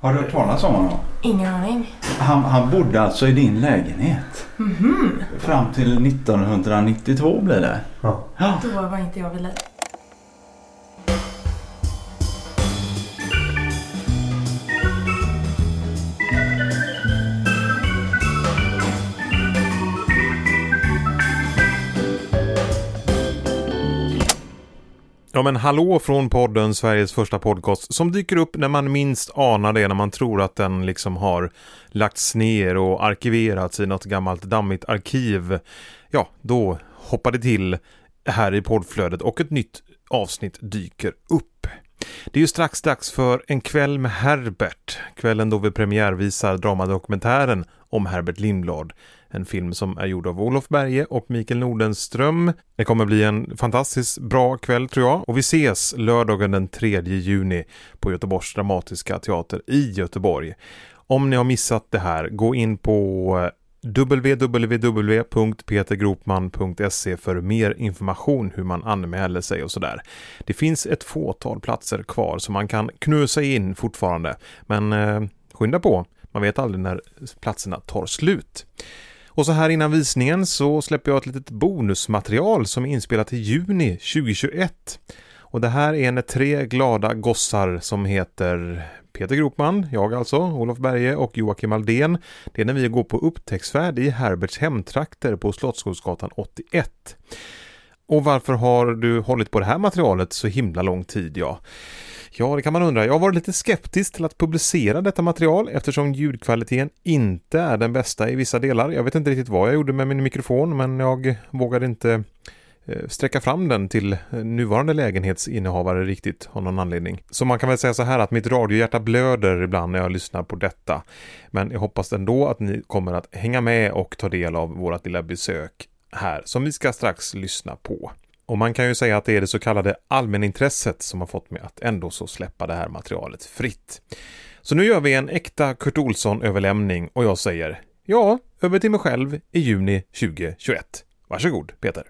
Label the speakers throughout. Speaker 1: Har du hört talas om honom?
Speaker 2: Ingen aning.
Speaker 1: Han, han bodde alltså i din lägenhet. Mhm. Fram till 1992 blir det.
Speaker 3: Ja.
Speaker 1: Ja.
Speaker 2: Då var inte jag vid liv.
Speaker 4: Ja men hallå från podden Sveriges första podcast som dyker upp när man minst anar det när man tror att den liksom har lagts ner och arkiverats i något gammalt dammigt arkiv. Ja, då hoppar det till här i poddflödet och ett nytt avsnitt dyker upp. Det är ju strax dags för En kväll med Herbert, kvällen då vi premiärvisar dramadokumentären om Herbert Lindblad. En film som är gjord av Olof Berge och Mikael Nordenström. Det kommer bli en fantastiskt bra kväll tror jag. Och vi ses lördagen den 3 juni på Göteborgs Dramatiska Teater i Göteborg. Om ni har missat det här, gå in på eh, www.petergropman.se för mer information hur man anmäler sig och sådär. Det finns ett fåtal platser kvar så man kan knusa in fortfarande. Men eh, skynda på, man vet aldrig när platserna tar slut. Och så här innan visningen så släpper jag ett litet bonusmaterial som är inspelat i juni 2021. Och det här är när tre glada gossar som heter Peter Gropman, jag alltså, Olof Berge och Joakim Aldén. Det är när vi går på upptäcktsfärd i Herberts hemtrakter på Slottsskogsgatan 81. Och varför har du hållit på det här materialet så himla lång tid, ja? Ja, det kan man undra. Jag har varit lite skeptisk till att publicera detta material eftersom ljudkvaliteten inte är den bästa i vissa delar. Jag vet inte riktigt vad jag gjorde med min mikrofon, men jag vågade inte eh, sträcka fram den till eh, nuvarande lägenhetsinnehavare riktigt av någon anledning. Så man kan väl säga så här att mitt radiohjärta blöder ibland när jag lyssnar på detta. Men jag hoppas ändå att ni kommer att hänga med och ta del av vårt lilla besök här som vi ska strax lyssna på. Och man kan ju säga att det är det så kallade allmänintresset som har fått mig att ändå så släppa det här materialet fritt. Så nu gör vi en äkta Kurt Olsson-överlämning och jag säger ja, över till mig själv i juni 2021. Varsågod Peter!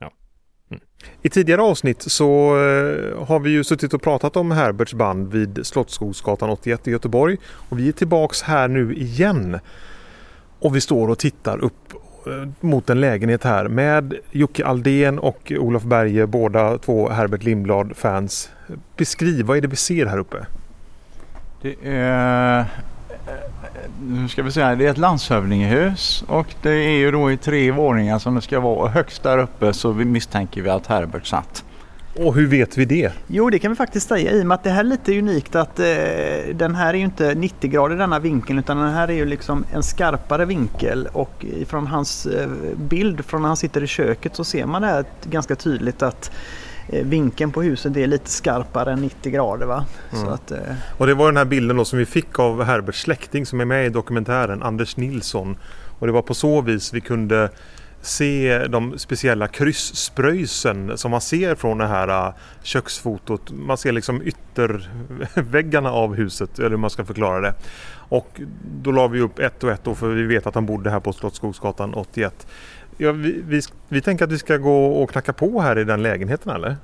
Speaker 4: Mm. I tidigare avsnitt så eh, har vi ju suttit och pratat om Herberts band vid Slottsskogsgatan 81 i Göteborg. Och vi är tillbaks här nu igen. Och vi står och tittar upp eh, mot en lägenhet här med Jocke Aldén och Olof Berge, båda två Herbert Lindblad-fans. Beskriv, vad är det vi ser här uppe?
Speaker 1: Det är... eh, Nu ska vi säga, det är ett landshövdingehus och det är ju då i tre våningar som det ska vara. Och högst där uppe så vi misstänker vi att Herbert satt.
Speaker 4: Och hur vet vi det?
Speaker 5: Jo, det kan vi faktiskt säga i och med att det här är lite unikt att eh, den här är ju inte 90 grader denna vinkeln utan den här är ju liksom en skarpare vinkel och från hans eh, bild från när han sitter i köket så ser man det här t- ganska tydligt att eh, vinkeln på huset är lite skarpare än 90 grader. Va?
Speaker 4: Mm.
Speaker 5: Så att, eh,
Speaker 4: Och det var den här bilden då som vi fick av Herberts släkting som är med i dokumentären, Anders Nilsson. Och det var på så vis vi kunde se de speciella krysspröjsen som man ser från det här äh, köksfotot. Man ser liksom ytterväggarna av huset, eller hur man ska förklara det. Och då la vi upp ett och ett då, för vi vet att han bodde här på Slottsskogsgatan 81. Ja, vi, vi, vi tänker att vi ska gå och knacka på här i den lägenheten eller?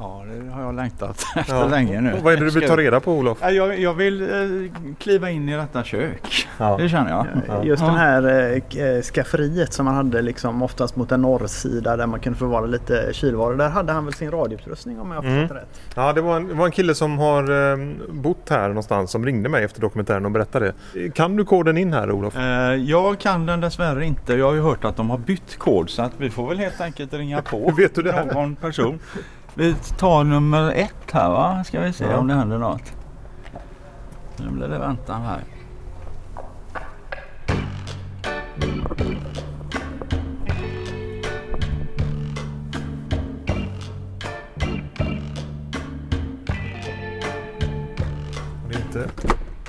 Speaker 1: Ja, det har jag längtat efter
Speaker 4: Ja.
Speaker 1: länge nu.
Speaker 4: Och vad är det du vill ta reda på Olof?
Speaker 1: Ja, Jag, jag vill eh, kliva in i detta kök.
Speaker 4: Ja.
Speaker 1: Det känner jag.
Speaker 5: Just
Speaker 1: Ja.
Speaker 5: den här eh, k- eh, skafferiet som han hade liksom oftast mot en norrsida där man kunde förvara lite kylvaror. Där hade han väl sin radioutrustning om jag har
Speaker 4: Mm.
Speaker 5: förstått det rätt.
Speaker 4: Ja, det var, en, det var en kille som har eh, bott här någonstans som ringde mig efter dokumentären och berättade. Kan du koden in här Olof?
Speaker 1: Eh, Jag kan den dessvärre inte. Jag har ju hört att de har bytt kod så att vi får väl helt enkelt ringa på
Speaker 4: Vet du det här?
Speaker 1: någon person. Vi tar nummer ett här va, ska vi se
Speaker 4: Ja.
Speaker 1: om det händer något. Nu blir det väntan här.
Speaker 4: Det är inte...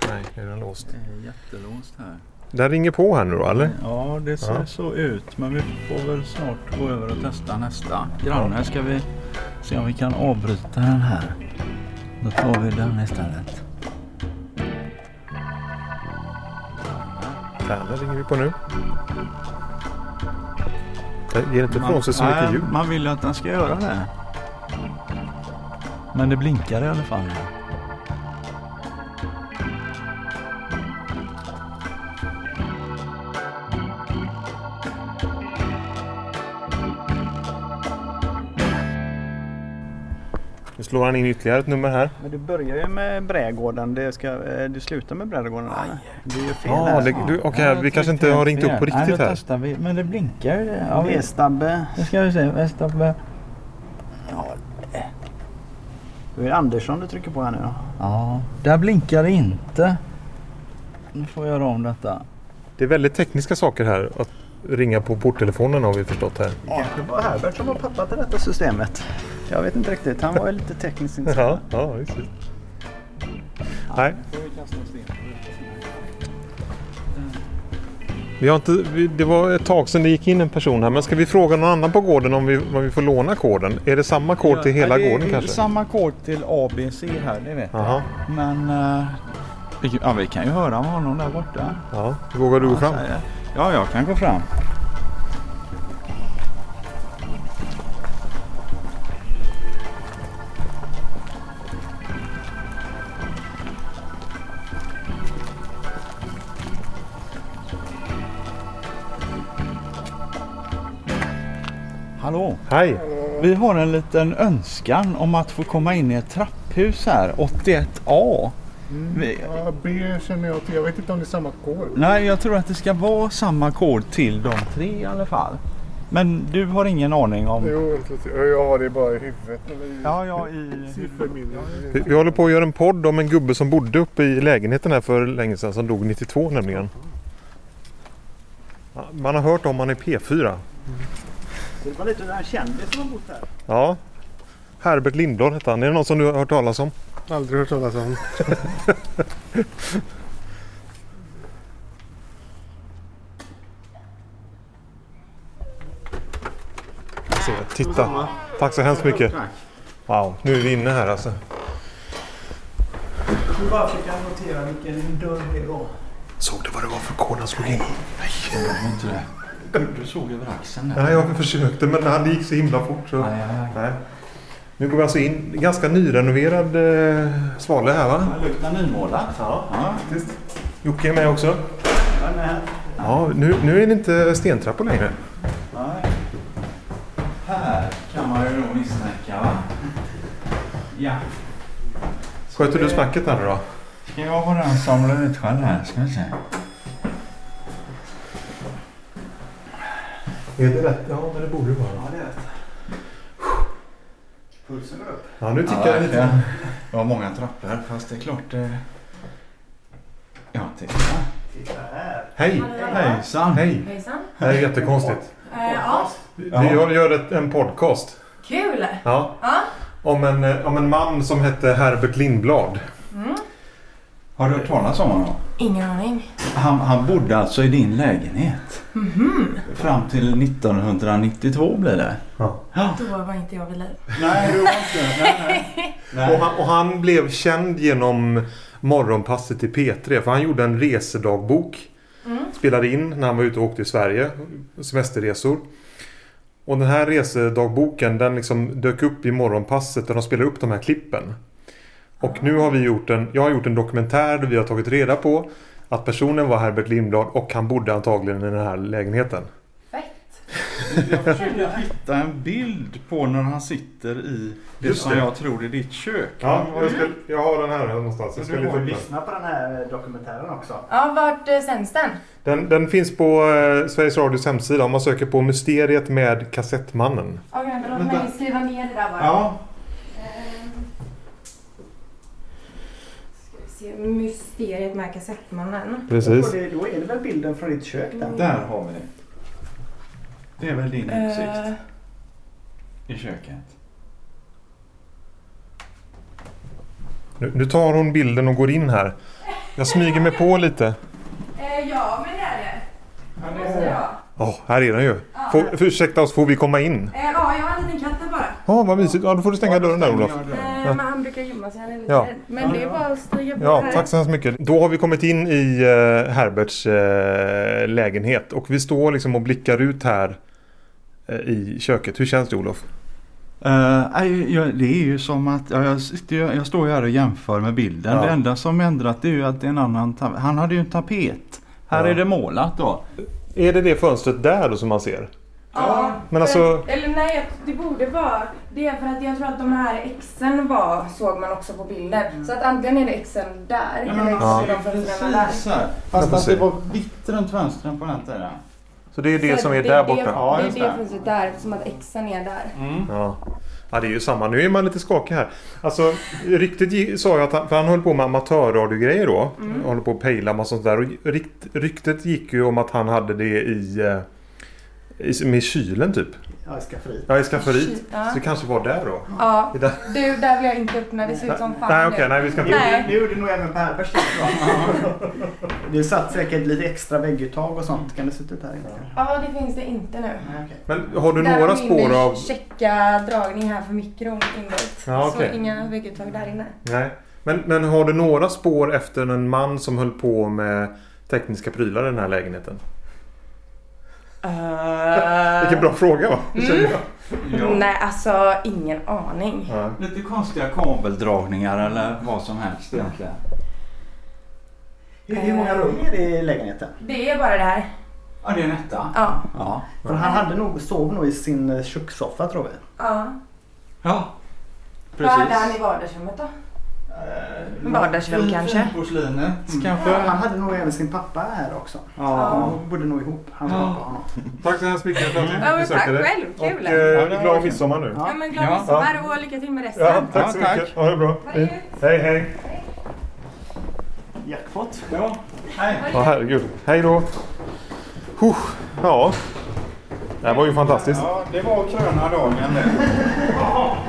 Speaker 4: Nej, nu är den låst.
Speaker 1: Det är jättelåst här.
Speaker 4: Den ringer på här nu då eller?
Speaker 1: Eh, Ja, det ser
Speaker 4: Ja.
Speaker 1: så ut. Men vi får väl snart gå över och testa nästa. Granne ska vi se om vi kan avbryta den här. Då tar vi den istället.
Speaker 4: Tärna ringer vi på nu. Den ger inte ifrån sig så mycket
Speaker 1: nej,
Speaker 4: ljud.
Speaker 1: man vill ju att den ska göra det. Men det blinkar i alla fall.
Speaker 4: slår han in ytterligare ett nummer här.
Speaker 5: Men du börjar ju med brädgården. Det ska, eh, du slutar med brädgården. eller? Du gör fel
Speaker 4: Ja,
Speaker 5: här.
Speaker 4: det- du- okej, vi kanske inte har ringt upp på
Speaker 1: Nej,
Speaker 4: riktigt
Speaker 1: då
Speaker 4: här.
Speaker 1: testar vi. Men det blinkar ju. det.
Speaker 5: Mm.
Speaker 1: Ja, vi-
Speaker 5: V-stabbe.
Speaker 1: Nu ska vi se. Västapbe.
Speaker 5: Det är Andersson du trycker på här nu då.
Speaker 1: Ja, där blinkar det inte. Nu får jag göra om detta.
Speaker 4: Det är väldigt tekniska saker här. Att ringa på porttelefonen har vi förstått här.
Speaker 5: Det kanske var Herbert som var pappa till detta systemet. Jag vet inte riktigt. Han var ju lite tekniskt intresserad.
Speaker 4: Ja, ja just det. Nej, vi har inte, vi, det var ett tag sedan det gick in en person här. Men ska vi fråga någon annan på gården om vi, om vi får låna koden? Är det samma kod till hela
Speaker 1: Ja, det är
Speaker 4: gården kanske?
Speaker 1: Samma kod till ABC här, det vet jag.
Speaker 4: Jaha,
Speaker 1: Men... eh, vi- ja, vi kan ju höra med honom där borta.
Speaker 4: ja. Vågar du gå fram?
Speaker 1: Ja, jag kan gå fram. Hallå!
Speaker 4: Hej!
Speaker 1: Vi har en liten önskan om att få komma in i ett trapphus här, 81A.
Speaker 5: Mm.
Speaker 1: Vi-
Speaker 2: Ja, B känner jag till. Jag vet inte om det är samma kod.
Speaker 1: Nej, jag tror att det ska vara samma kod till de tre i alla fall. Men du har ingen aning om...
Speaker 2: Jo, vänta lite. jag har det bara i huvudet. Eller i
Speaker 1: Ja, ja, i...
Speaker 2: sifferminne.
Speaker 4: Vi, vi håller på att göra en podd om en gubbe som bodde uppe i lägenheten här för länge sedan som dog 92 nämligen. Ja, Man har hört om han i P4.
Speaker 5: Det var lite den här kändis som har bott här.
Speaker 4: Ja. Herbert Lindblad hette han. Är det någon som du har hört talas om?
Speaker 2: Aldrig hört talas om.
Speaker 4: Se, titta. Tack så hemskt mycket. Wow, nu är vi inne här alltså.
Speaker 5: Jag tror bara försöka notera vilken dörr det var.
Speaker 4: Såg du vad det var för kod han slog in?
Speaker 1: Inte det. Gud, du såg över axeln där.
Speaker 4: Nej, jag försökte men han gick så himla fort. Så.
Speaker 1: Aj, aj, aj.
Speaker 4: Nej. Nu går vi alltså in. Ganska nyrenoverad eh, Svale här va?
Speaker 1: Det luktar nymålat.
Speaker 4: Ja, faktiskt. Jocke är med också.
Speaker 5: Ja, men
Speaker 4: Ja, nu, nu är det inte stentrappor längre.
Speaker 1: Nej. Här kan man ju nog misstänka, va? Ja.
Speaker 4: Sköter du snacket där nu då?
Speaker 1: Ska jag vara den som samlar ut själv här? Ska vi se.
Speaker 4: Är det rätt? Ja, men det borde ju vara.
Speaker 5: det är rätt. Pulsen går upp.
Speaker 4: Ja, nu tickar
Speaker 1: Ja,
Speaker 4: det lite.
Speaker 1: verkligen. Det var många trappor, fast det är klart... Eh... Ja, titta.
Speaker 5: Titta här.
Speaker 4: Hej!
Speaker 1: Hejsan!
Speaker 4: Hej!
Speaker 3: Hejsan.
Speaker 4: Det här är jättekonstigt.
Speaker 3: Eh, ja,
Speaker 4: Vi gör gör ett, en podcast.
Speaker 3: kul.
Speaker 4: Ja.
Speaker 3: Ja.
Speaker 4: Om en, eh, om en man som hette Herbert Lindblad.
Speaker 1: Har du hört talas om honom?
Speaker 3: Ingen aning.
Speaker 1: Han, han bodde alltså i din lägenhet? Fram till 1992 blir det?
Speaker 4: Ja.
Speaker 3: Då var inte jag vid liv.
Speaker 1: Nej, det var inte. Nej, nej.
Speaker 4: Och han, och han blev känd genom Morgonpasset i P3 för han gjorde en resedagbok. Spelade in när han var ute och åkte i Sverige. Semesterresor. Och den här resedagboken den liksom dök upp i Morgonpasset där de spelar upp de här klippen. Och nu har vi gjort en, jag har gjort en dokumentär där vi har tagit reda på att personen var Herbert Lindblad och han bodde antagligen i den här lägenheten.
Speaker 3: Fett.
Speaker 1: Jag försöker hitta en bild på när han sitter i det
Speaker 4: Just
Speaker 1: som
Speaker 4: det.
Speaker 1: jag tror är ditt kök.
Speaker 4: jag, ska, jag har den här någonstans. Jag ska leta upp den.
Speaker 5: Lyssna på den här eh, dokumentären också.
Speaker 3: Ja, vart eh, sänds den?
Speaker 4: Den, den finns på eh, Sveriges Radios hemsida om man söker på Mysteriet med Kassettmannen.
Speaker 3: Okej, men låt
Speaker 1: Vänta.
Speaker 3: mig skriva ner det där bara.
Speaker 1: Ja,
Speaker 3: Ehm, ska vi se. Mysteriet med kassettmannen.
Speaker 5: Och
Speaker 4: Precis.
Speaker 5: det, då är det väl bilden från ditt kök där.
Speaker 1: där har vi det. Det är väl din
Speaker 3: Eh,
Speaker 1: utsikt i köket?
Speaker 4: Nu, nu tar hon bilden och går in här. Jag smyger mig på lite.
Speaker 3: eh, ja, men det är det. Måste det vara.
Speaker 4: Ja, här är den ju. Får, för, ursäkta oss, får vi komma in?
Speaker 3: Eh, ja, jag har en liten katt där bara.
Speaker 4: Ja, vad mysigt. Ja, då får du stänga dörren där Olof.
Speaker 3: Eh, Men han brukar gömma sig. Han är lite
Speaker 4: Ja.
Speaker 3: rädd. Men det är bara att stiga på
Speaker 4: Ja,
Speaker 3: här.
Speaker 4: tack så hemskt mycket. Då har vi kommit in i eh, Herberts eh, lägenhet och vi står liksom och blickar ut här eh, i köket. Hur känns det Olof?
Speaker 1: Eh, nej, jag, det är ju som att, ja, jag, sitter, ju- jag står ju här och jämför med bilden.
Speaker 4: Ja.
Speaker 1: Det enda som ändrat är ju att det är en annan ta- Han hade ju en tapet. Här
Speaker 4: Ja.
Speaker 1: är det målat då.
Speaker 4: Är det det fönstret där då som man ser?
Speaker 3: Ja,
Speaker 4: Men
Speaker 3: för-
Speaker 4: alltså-
Speaker 3: Eller nej, jag- det borde vara... Det är för att jag tror att de här exen var, såg man också på bilden. Så att antingen är det exen där eller
Speaker 4: Mm. Ja.
Speaker 3: exen ja. de fötterna där.
Speaker 1: Fast
Speaker 4: att det
Speaker 1: var vitt runt fönstren på den tiden.
Speaker 4: Så det är det
Speaker 3: Så
Speaker 4: som är där
Speaker 3: Det, det,
Speaker 4: borta?
Speaker 1: Ja, just
Speaker 3: det är
Speaker 1: det.
Speaker 3: det fönstret där, som att exen är där.
Speaker 4: Ja. ja, det är ju samma. Nu är man lite skakig här. Alltså, ryktet gi- sa ju att han, för han höll på med amatörradiogrejer då.
Speaker 3: Mm.
Speaker 4: Håller på att pejla massa sånt där. Och rykt, ryktet gick ju om att han hade det i... eh, i med kylen typ.
Speaker 5: Ja, jag ska fri.
Speaker 4: Ja, i skafferiet.
Speaker 3: Ja.
Speaker 4: Så det kanske var där då.
Speaker 3: Ja,
Speaker 4: Det där.
Speaker 3: du, där vill jag inte öppna. Det ser ut som fan
Speaker 4: nej,
Speaker 3: nu.
Speaker 4: okej. nej, vi ska inte...
Speaker 3: Nej.
Speaker 5: Det gjorde nog även Pervers. det satt säkert lite extra vägguttag och sånt. Kan det suttit här inne? kanske?
Speaker 3: Ja, det finns det inte nu.
Speaker 5: Nej, okej.
Speaker 4: Men har du
Speaker 3: Där har
Speaker 4: några
Speaker 3: vi
Speaker 4: spår
Speaker 3: min
Speaker 4: av...
Speaker 3: Checka dragning här för mikron inbyggd.
Speaker 4: Ja, okej.
Speaker 3: Så inga vägguttag där inne.
Speaker 4: Nej. Men, men har du några spår efter en man som höll på med tekniska prylar i den här lägenheten? Vilken bra fråga va?
Speaker 3: Mm.
Speaker 4: Känner jag.
Speaker 3: Nej, alltså ingen aning.
Speaker 4: Ja.
Speaker 1: Lite konstiga kabeldragningar eller vad som helst egentligen.
Speaker 5: Hur, hur många rum är det i lägenheten?
Speaker 3: Det är bara det här.
Speaker 1: Ja, det är en etta.
Speaker 3: Ja.
Speaker 1: Ja.
Speaker 5: För han hade nog, sov nog i sin eh, kökssoffa tror vi.
Speaker 3: ja.
Speaker 1: Ja.
Speaker 3: Vad hade han i vardagsrummet då? Vardagsrum
Speaker 1: Fin-
Speaker 3: kanske?
Speaker 1: Finporslinet kanske.
Speaker 5: Han hade nog även sin pappa här också.
Speaker 1: Ja.
Speaker 5: De bodde nog ihop, hans
Speaker 1: Ja.
Speaker 5: pappa och honom.
Speaker 4: Tack så hemskt mycket för att
Speaker 3: Ja,
Speaker 4: ni
Speaker 3: men tack
Speaker 4: besökte det.
Speaker 3: själv. Kul.
Speaker 4: Och eh, glad midsommar nu.
Speaker 5: Ja.
Speaker 3: Ja, men glad
Speaker 1: Ja.
Speaker 3: midsommar och lycka till med resten.
Speaker 4: Ja, tack så
Speaker 1: Ja, tack.
Speaker 4: mycket. Ha det bra.
Speaker 3: Ha det gött.
Speaker 4: Hej, hej.
Speaker 5: Jackpot.
Speaker 1: Ja. Nej.
Speaker 4: Ja, herregud. Hej då. Huh. Ja. Det här var ju fantastiskt.
Speaker 1: Ja, det var kröna dagen det.